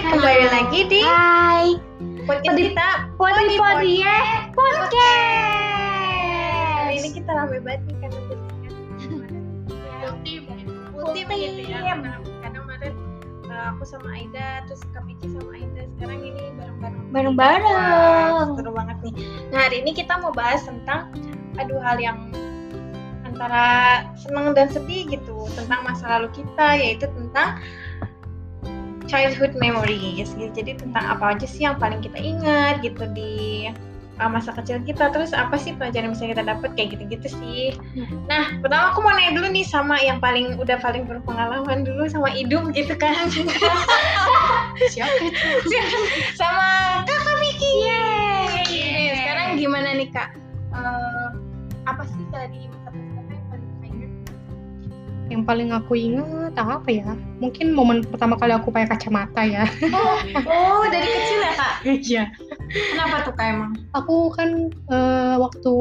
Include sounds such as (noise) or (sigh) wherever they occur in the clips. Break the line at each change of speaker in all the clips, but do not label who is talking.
lagi di
Hai,
podcast
Podi-
kita
Podi Podi ya
Hari ini
podcast.
kita rame banget nih karena kucingnya
(laughs) Putih,
putih gitu ya
Tim.
Karena- karena kemarin eh, aku sama Aida terus Kak Michi sama Aida sekarang ini bareng-bareng Wah,
Bareng-bareng.
seru banget nih nah hari ini kita mau bahas tentang aduh hal yang antara seneng dan sedih gitu tentang masa lalu kita yaitu tentang childhood memories gitu. jadi tentang apa aja sih yang paling kita ingat gitu di uh, masa kecil kita terus apa sih pelajaran yang bisa kita dapat kayak gitu-gitu sih nah pertama aku mau nanya dulu nih sama yang paling udah paling berpengalaman dulu sama hidung gitu (laughs) kan
Siapa itu?
(laughs) sama kakak Vicky.
Yeay.
Sekarang gimana nih kak? Eh, apa sih tadi masa kecil kakak yang paling kakak ingat?
Yang paling aku ingat apa ya? Mungkin momen pertama kali aku pakai kacamata ya.
(laughs) Oh dari kecil ya kak?
Iya.
Kenapa tuh kak emang?
aku kan eh, waktu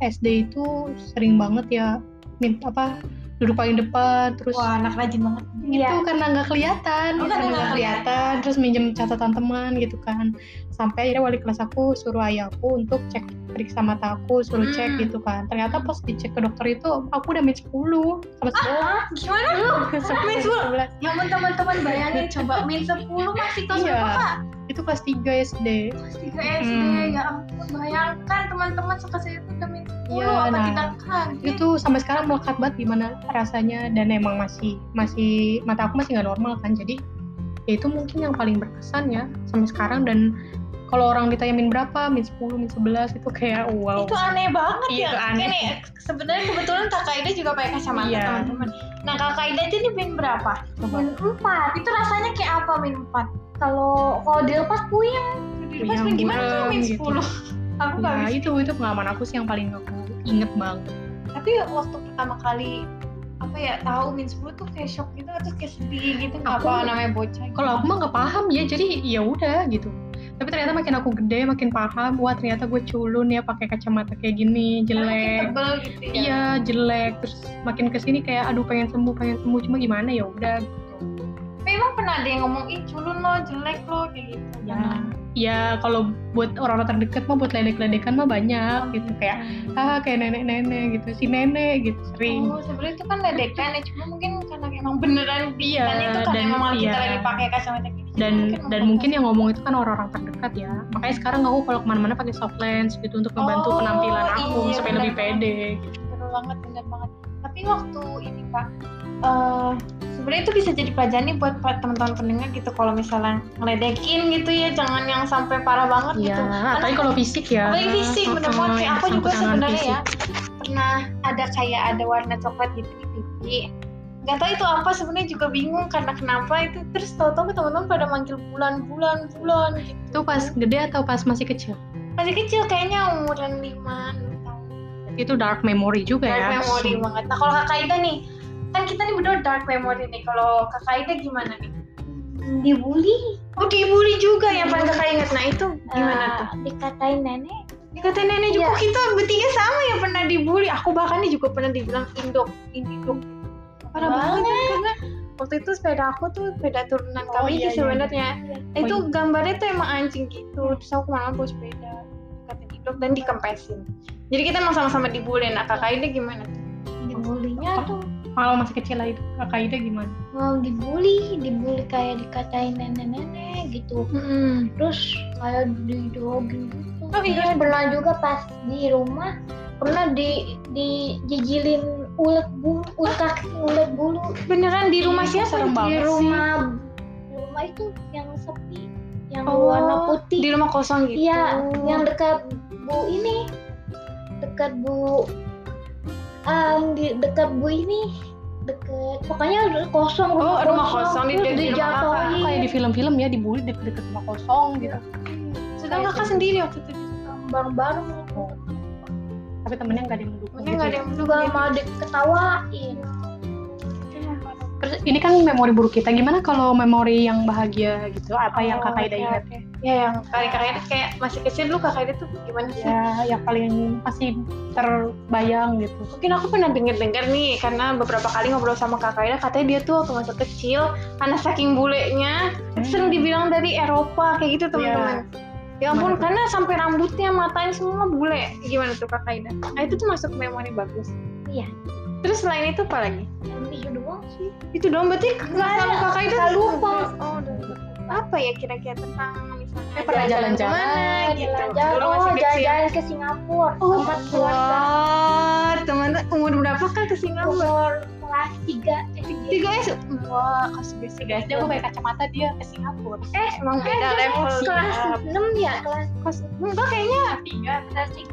SD itu sering banget ya minta apa duduk paling depan terus
anak rajin banget.
itu
Iya.
karena nggak kelihatan
Oh,
gitu,
karena nggak kelihatan.
terus minjem catatan teman gitu kan sampai akhirnya wali kelas aku suruh ayahku untuk cek periksa mata aku suruh cek
Hmm.
gitu kan ternyata pas dicek ke dokter itu aku udah match 10 sama
Ah, gimana? Min
10
Ya ampun teman-teman bayangin coba min 10 masih kelas
Iya.
berapa kak?
itu kelas 3 SD
Kelas 3 SD
Hmm.
ya ampun bayangkan teman-teman sekecil itu udah min 10
Iya,
apa
nah.
tidak kan?
itu sampai sekarang melekat banget gimana rasanya dan emang masih masih mata aku masih nggak normal kan jadi ya itu mungkin yang paling berkesan ya sampai sekarang dan kalau orang ditanya min berapa min 10 min 11 itu kayak oh, wow
Itu aneh banget
Iya,
ya.
itu aneh.
Ini sebenarnya kebetulan Kakak Ida juga pakai kacamata
Iya.
teman-teman. Nah, Kakak Ida jadi min berapa?
coba
Min empat.
Itu rasanya kayak apa min 4?
Kalau kalau dilepas puyeng.
Pas min gimana tuh min 10?
Gitu.
(laughs) Aku nggak
Nah,
bisa.
itu itu pengalaman aku sih yang paling aku inget banget
Tapi waktu pertama kali apa ya tahu min 10 tuh kayak shock gitu atau kayak sedih gitu nggak
Aku-
apa namanya bocah gitu.
kalau aku mah nggak paham ya jadi ya udah gitu tapi ternyata makin aku gede makin paham wah ternyata gue culun ya pakai kacamata kayak
Karena
gini
makin
jelek
tebel gitu ya
iya jelek terus makin kesini kayak aduh pengen sembuh pengen sembuh cuma gimana ya udah
memang pernah ada yang ngomong ih culun lo jelek lo kayak gitu
ya ya kalau buat orang-orang terdekat mah buat ledek-ledekan mah banyak
Iya.
gitu kayak ah kayak nenek-nenek gitu si nenek gitu sering
Oh, sebenarnya itu kan ledekan ya, cuma mungkin karena emang beneran
Iya,
kan itu karena
dan-
memang kita
iya.
lagi pakai kacamata gini.
dan dan mungkin yang ngomong itu kan orang-orang terdekat ya makanya sekarang aku kalau kemana-mana pakai soft lens gitu untuk membantu
Oh,
penampilan aku
iya,
supaya
benar
lebih
banget.
pede gitu.
bener banget, bener banget. Tapi waktu ini kak, eh sebenarnya itu bisa jadi pelajaran nih buat buat teman-teman pendengar gitu kalau misalnya ngeledekin gitu ya, jangan yang sampai parah banget
Iya,
gitu.
apalagi kalau fisik ya.
Apalagi fisik, bener banget. Kayak aku juga sebenarnya ya pernah ada kayak ada warna coklat gitu di pipi. Gak tau itu apa sebenarnya juga bingung karena kenapa itu terus tau-tau teman-teman pada manggil bulan bulan bulan gitu.
Itu pas gede atau pas masih kecil?
masih kecil kayaknya umuran 5 tahun
Itu dark memory juga
dark
ya.
memory banget nah kalau kakak Ida nih kan kita nih berdua dark memory nih kalau kakak Ida gimana nih
Dibully.
oh dibully juga yang paling kakak ingat nah itu gimana
Eh,
tuh
Dikatain nenek.
dikatain nenek juga kita bertiga sama ya pernah dibully aku bahkan nih juga pernah dibilang indok indok parah banget kan? karena waktu itu sepeda aku tuh sepeda turunan
Oh,
kami
iya, iya.
sebenarnya
Oh,
itu gambarnya tuh emang anjing gitu terus aku kemana bawa sepeda dikatain indok dan dikempesin jadi kita emang sama-sama dibully nah kakak Ida gimana tuh?
Dibulinya tuh.
Kalau masih kecil lah itu kakak Ida gimana?
Mau dibully, dibully kayak dikatain nenek-nenek gitu. terus kayak didogin gitu
Oh, iya.
Terus pernah juga pas di rumah pernah di dijijilin ulet bulu ulet kaki ulet bulu
beneran di rumah siapa Di
Serem banget
di
sih.
rumah di rumah itu yang sepi yang
Oh,
warna
di
putih
rumah kosong gitu
iya yang dekat bu ini dekat bu em, di dekat bu ini dekat pokoknya udah kosong
Oh,
rumah,
rumah kosong di-
terus
di rumah kakak.
dijatuhin.
Kayak di film-film ya dibully deket-deket rumah kosong gitu.
sedang kakak sendiri waktu itu
bareng-bareng
Tapi temennya nggak ada yang gitu dukung.
Mungkin nggak ada yang
juga mau diketawain Iya.
Oh,
Terus ini kan memori buruk kita. Gimana kalau memori yang bahagia gitu? Apa yang kakak Ida ingat?
ingat ya yang paling kakak Edit kayak masih kecil dulu kakak Edit tuh gimana sih
Iya.
ya yang paling masih terbayang gitu
mungkin aku pernah denger-denger nih karena beberapa kali ngobrol sama kakak Ida katanya dia tuh waktu masih kecil karena saking bulenya
Hmm.
sering dibilang dari Eropa kayak gitu
Iya.
teman-teman ya ampun
Gimana tuh?
karena sampai rambutnya matanya semua bule gimana tuh kakak Ida nah itu tuh masuk memori bagus
Iya.
terus selain itu apa lagi
Emang itu doang sih
itu dong berarti masalah
ada,
kakak Ida
suka
tuh-
lupa.
oh, udah. apa ya kira-kira tentang misalnya
Dia pernah jalan-jalan,
kemana gitu
jalan-jalan
Dulu
Eh, oh
masih kecil.
jalan-jalan ke
Oh,
Singapura sama keluarga
keluar teman-teman umur berapa kan ke Singapura?
umur kelas eh, 3 SD
Tiga S. Wah, kelas tiga SD.
guys aku pakai kacamata dia ke Singapura
Eh, emang beda
Eh,
level.
kelas
Iya.
6 ya kelas
Kelas enggak kayaknya.
Iya, tiga
kelas tiga.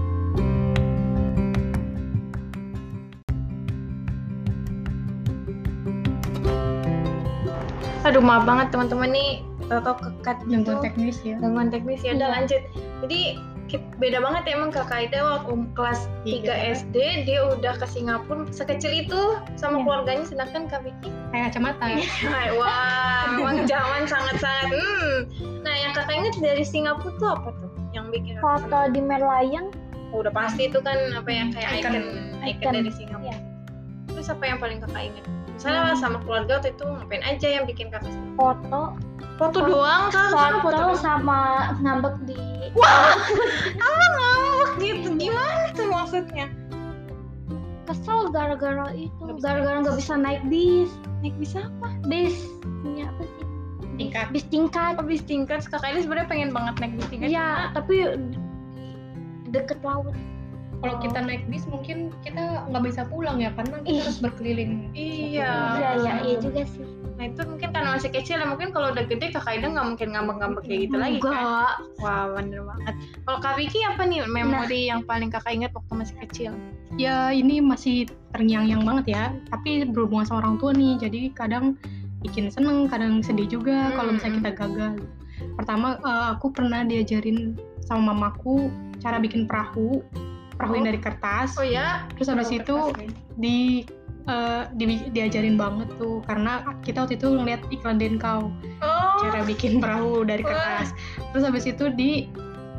Aduh, maaf banget teman-teman nih. Toto kekat gitu.
gangguan teknis ya
Gangguan teknis ya udah
Iya.
lanjut. Jadi ki- beda banget ya emang Kak Aida waktu um- kelas 3
Tiga.
SD dia udah ke Singapura sekecil itu sama
Iya.
keluarganya sedangkan Kak Vicky
kayak kacamata
Hai, wah, memang zaman sangat-sangat. Hmm. Nah, yang kakak inget dari Singapura tuh apa tuh? Yang bikin aku
foto di Merlion
senang? udah pasti itu kan apa yang kayak
Icon.
icon, icon
Icon,
dari Singapura.
iya. Hmm.
Terus apa yang paling kakak inget? Misalnya sama keluarga waktu itu ngapain aja yang bikin kakak senang?
foto
Foto doang kak, kakak foto,
foto
doang. (laughs)
sama ngambek di
Apa ngambek Ah, gitu? Gimana tuh maksudnya?
kesel gara-gara itu
Nggak bisa
gara-gara
naik
nggak bisa naik bis
Naik bisa apa?
bis ini apa sih
tingkat
bis tingkat
Habis tingkat, kakak ini sebenarnya pengen banget naik bis tingkat. Oh.
iya tapi deket laut
kalau kita naik bis mungkin kita nggak bisa pulang ya karena kita
Ih.
harus berkeliling
Iya.
iya iya iya
betul.
juga sih
Nah itu mungkin karena masih kecil ya, mungkin kalau udah gede kakak Ida nggak mungkin ngambek-ngambek kayak gitu lagi kan?
Iya. enggak
Wah, bener banget. Kalau Kak Vicky apa nih memori yang paling kakak ingat waktu masih kecil?
ya ini masih terngiang-ngiang banget ya tapi berhubungan sama orang tua nih jadi kadang bikin seneng kadang sedih juga kalau
Hmm,
misalnya kita gagal pertama eh, aku pernah diajarin sama mamaku cara bikin perahu perahu yang
Oh.
dari kertas
Oh ya?
terus habis itu di eh, di- diajarin banget tuh karena kita waktu itu ngeliat iklan Denkau
Oh.
cara bikin perahu dari kertas terus habis itu di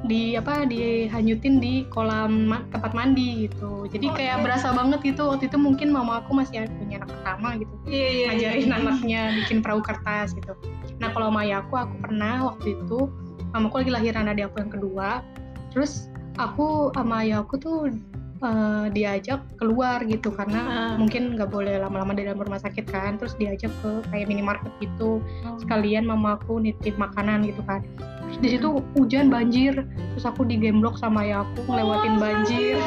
di apa dihanyutin di kolam ma- tempat mandi gitu jadi
Oh,
kayak
iya.
berasa banget gitu waktu itu mungkin mama aku masih an- punya anak pertama gitu
Iya, iya, iya.
ngajarin anaknya bikin perahu kertas gitu nah kalau maya aku aku pernah waktu itu mamaku lagi lahiran adik aku yang kedua terus aku sama ayah aku tuh eh, diajak keluar gitu
Ah.
karena mungkin nggak boleh lama-lama di dalam rumah sakit kan terus diajak ke kayak minimarket gitu sekalian mamaku nitip makanan gitu kan terus di situ hujan banjir terus aku digemblok sama ayah aku ngelewatin banjir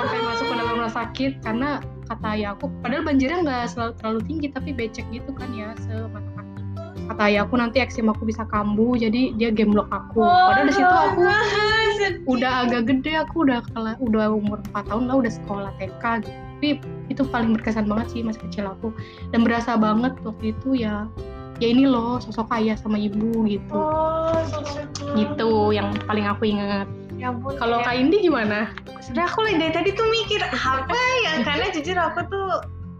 sampai
Oh,
masuk ke dalam rumah sakit karena kata ayah aku padahal banjirnya nggak selalu terlalu tinggi tapi becek gitu kan ya semata kaki kata ayah aku nanti eksim aku bisa kambuh jadi dia gemblok aku padahal di
oh,
situ aku
nah,
udah agak gede aku udah kela- udah umur 4 tahun lah udah sekolah TK gitu tapi itu paling berkesan banget sih masa kecil aku dan berasa banget waktu itu ya ya ini loh sosok ayah sama ibu gitu
Oh, syukur.
gitu yang paling aku ingat
Ya ampun.
kalau
kayak-
Kak Indi gimana
sebenarnya aku dari tadi tuh mikir apa ya karena jujur aku tuh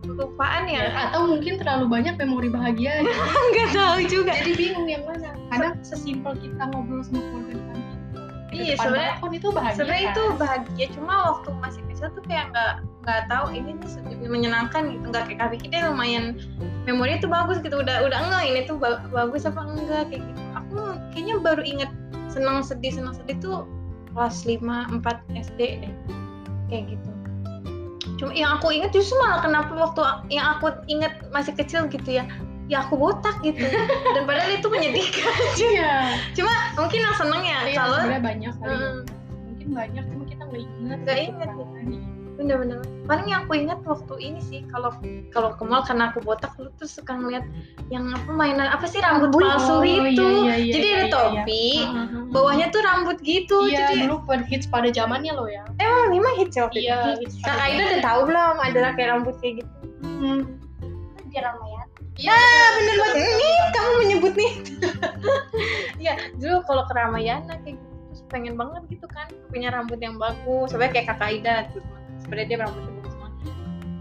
lupaan ya.
atau mungkin terlalu banyak memori bahagia (laughs)
Enggak tahu juga.
jadi bingung yang mana kadang sesimpel kita ngobrol sama keluarga depan pintu, di
Iya,
depan
sebenarnya-
balkon itu bahagia
Sebenarnya
kan?
itu bahagia cuma waktu masih kecil tuh kayak nggak nggak tahu ini tuh se- menyenangkan gitu nggak kayak Kak Vicky deh lumayan memori tuh bagus gitu udah udah enggak ini tuh ba- bagus apa enggak kayak gitu aku kayaknya baru inget senang sedih senang sedih tuh kelas 5 4 SD deh kayak gitu cuma yang aku inget justru malah kenapa waktu a- yang aku inget masih kecil gitu ya ya aku botak
(laughs)
gitu dan padahal itu menyedihkan
(laughs) iya
mungkin yang seneng ya
Iya,
kalau
sebenarnya banyak kali
Mm.
mungkin banyak cuma kita nggak inget
Nggak
gitu
inget,
kan.
bener-bener paling yang aku ingat waktu ini sih kalau kalau ke mall karena aku botak lu tuh suka ngeliat yang apa mainan apa sih rambut
Rambut.
palsu
Oh,
itu
iya, iya, iya,
jadi
iya,
ada
iya,
topi bawahnya tuh rambut gitu
Iya,
jadi
dulu pada hits pada zamannya loh ya.
emang memang hits ya waktu itu?
Iya, hits
Kak
pada
Aida
zaman.
udah tahu belum ada kayak rambut kayak gitu
Hmm.
jarang ya
ya bener banget nih kamu menyebut nih (laughs) ya dulu kalau ke Ramayana kayak gitu terus pengen banget gitu kan punya rambut yang bagus sebenarnya kayak kakak Ida gitu sebenarnya dia rambutnya bagus banget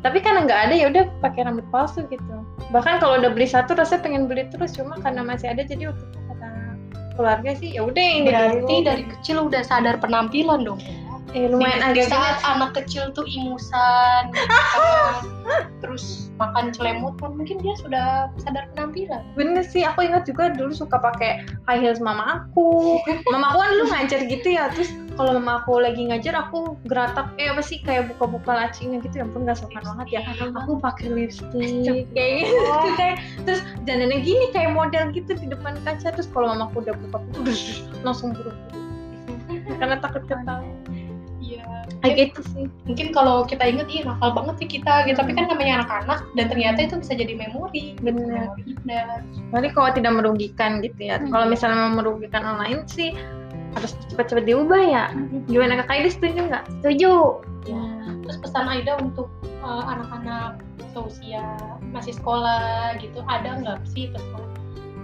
tapi kan nggak ada ya udah pakai rambut palsu gitu bahkan kalau udah beli satu rasanya pengen beli terus cuma karena masih ada jadi waktu itu kata keluarga sih ya udah
Iya,
yang
Berarti
didorong.
dari kecil udah sadar penampilan dong.
Eh, lumayan
Di
agak
saat anak kecil tuh (laughs) imusan, gitu kan. terus makan celemutan, mungkin dia sudah sadar penampilan.
bener sih aku ingat juga dulu suka pakai high heels mama aku mama aku kan dulu ngajar gitu ya terus kalau mama aku lagi ngajar aku geratak eh apa sih kayak buka-buka lacinya gitu ya ampun gak sopan banget ya aku pakai lipstick (laughs) kayak gitu
Oh,
kayak terus jalannya gini kayak model gitu di depan kaca terus kalau mama aku udah buka pintu dus, langsung buru-buru karena takut ketahuan
Iya.
kayak gitu sih
Mungkin kalau kita inget, iya nakal banget sih kita. Gitu. Tapi kan namanya anak-anak dan ternyata itu bisa jadi memori. gitu.
Bener.
Memori indah.
Tapi kalau tidak merugikan gitu ya.
Hmm.
Kalau misalnya memang merugikan orang lain sih harus cepat-cepat diubah ya. Gimana Kak Aida setuju nggak?
setuju
Iya.
Ya. Terus pesan Aida untuk uh, anak-anak seusia masih sekolah gitu, ada nggak sih pesan?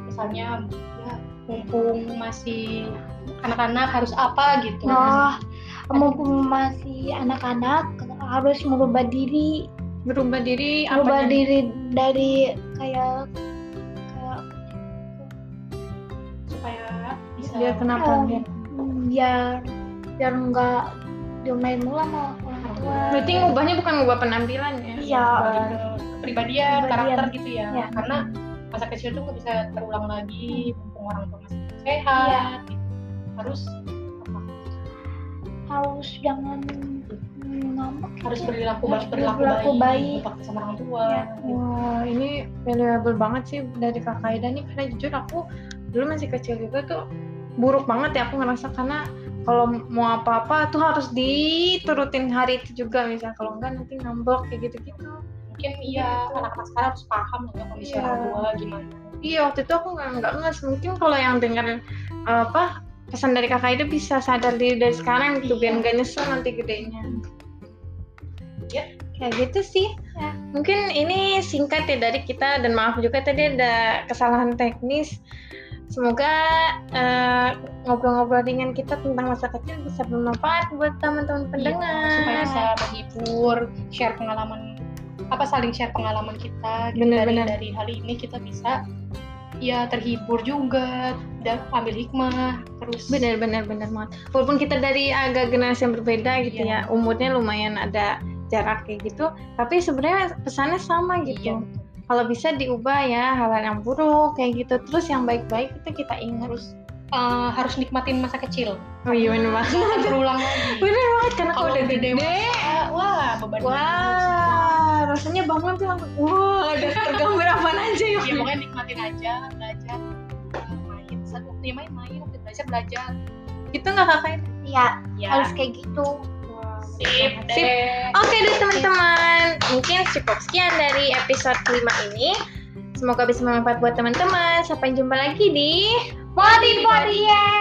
Misalnya, ya, mumpung masih anak-anak harus apa gitu?
nah mumpung masih anak-anak harus merubah diri
Berubah diri apa?
Hmm. merubah diri dari kayak kayak
supaya bisa eh,
Dia kenapa?
Oh. biar biar nggak diomelin mulu sama orang tua
Berarti ngubahnya bukan ngubah penampilan ya?
iya
kembali ke kepribadian,
Kepribadian.
karakter gitu ya.
Ya.
Karena masa kecil tuh nggak bisa terulang lagi, mumpung orang tua masih sehat,
Iya.
gitu. harus apa?
harus jangan ngambek
harus
gitu.
berlaku
Harus
baik, berlaku,
berlaku
baik,
baik.
berbakti sama orang tua.
Ya.
gitu.
Wah Oh, ini valuable banget sih dari Kak Aida nih karena jujur aku dulu masih kecil juga tuh buruk banget ya aku ngerasa karena kalau mau apa-apa tuh harus diturutin hari itu juga misal kalau enggak nanti ngambek kayak gitu-gitu.
Mungkin iya anak-anak sekarang harus paham ya kondisi
Iya.
orang tua gimana.
Iya waktu itu aku nggak nggak nges. Mungkin kalau yang dengar uh, apa pesan dari kakak itu bisa sadar diri dari sekarang gitu biar nggak nyesel nanti gedenya.
Iya.
Kayak gitu sih.
Ya.
Mungkin ini singkat ya dari kita dan maaf juga tadi ada kesalahan teknis. Semoga uh, ngobrol-ngobrol ringan kita tentang masa kecil bisa bermanfaat buat teman-teman pendengar.
Iya, supaya bisa menghibur, share pengalaman apa saling share pengalaman kita gitu.
Bener,
dari
bener.
dari hal ini kita bisa ya terhibur juga dan ambil hikmah terus
Bener bener bener banget. Walaupun kita dari agak generasi yang berbeda gitu
Iya.
ya, umurnya lumayan ada jarak kayak gitu, tapi sebenarnya pesannya sama gitu.
Iya,
Kalau bisa diubah ya hal-hal yang buruk kayak gitu, terus yang baik-baik itu kita ingat.
terus eh, harus nikmatin masa kecil
Oh iya bener banget.
jangan berulang lagi
Bener banget karena kalau
Kalau
udah
gede
gede,
Ah, wah beban
wah rasanya bangun tuh langsung, wah
(laughs)
udah tergambar apa aja ya.
ya pokoknya nikmatin aja belajar eh, main saat waktunya main-main waktu belajar belajar
Gitu nggak kakak?
ya
ya
harus kayak gitu
sip
Sip.
deh
Oke deh teman-teman, mungkin cukup sekian dari episode 5 ini. Semoga bisa bermanfaat buat teman-teman. Sampai jumpa lagi di
body body ya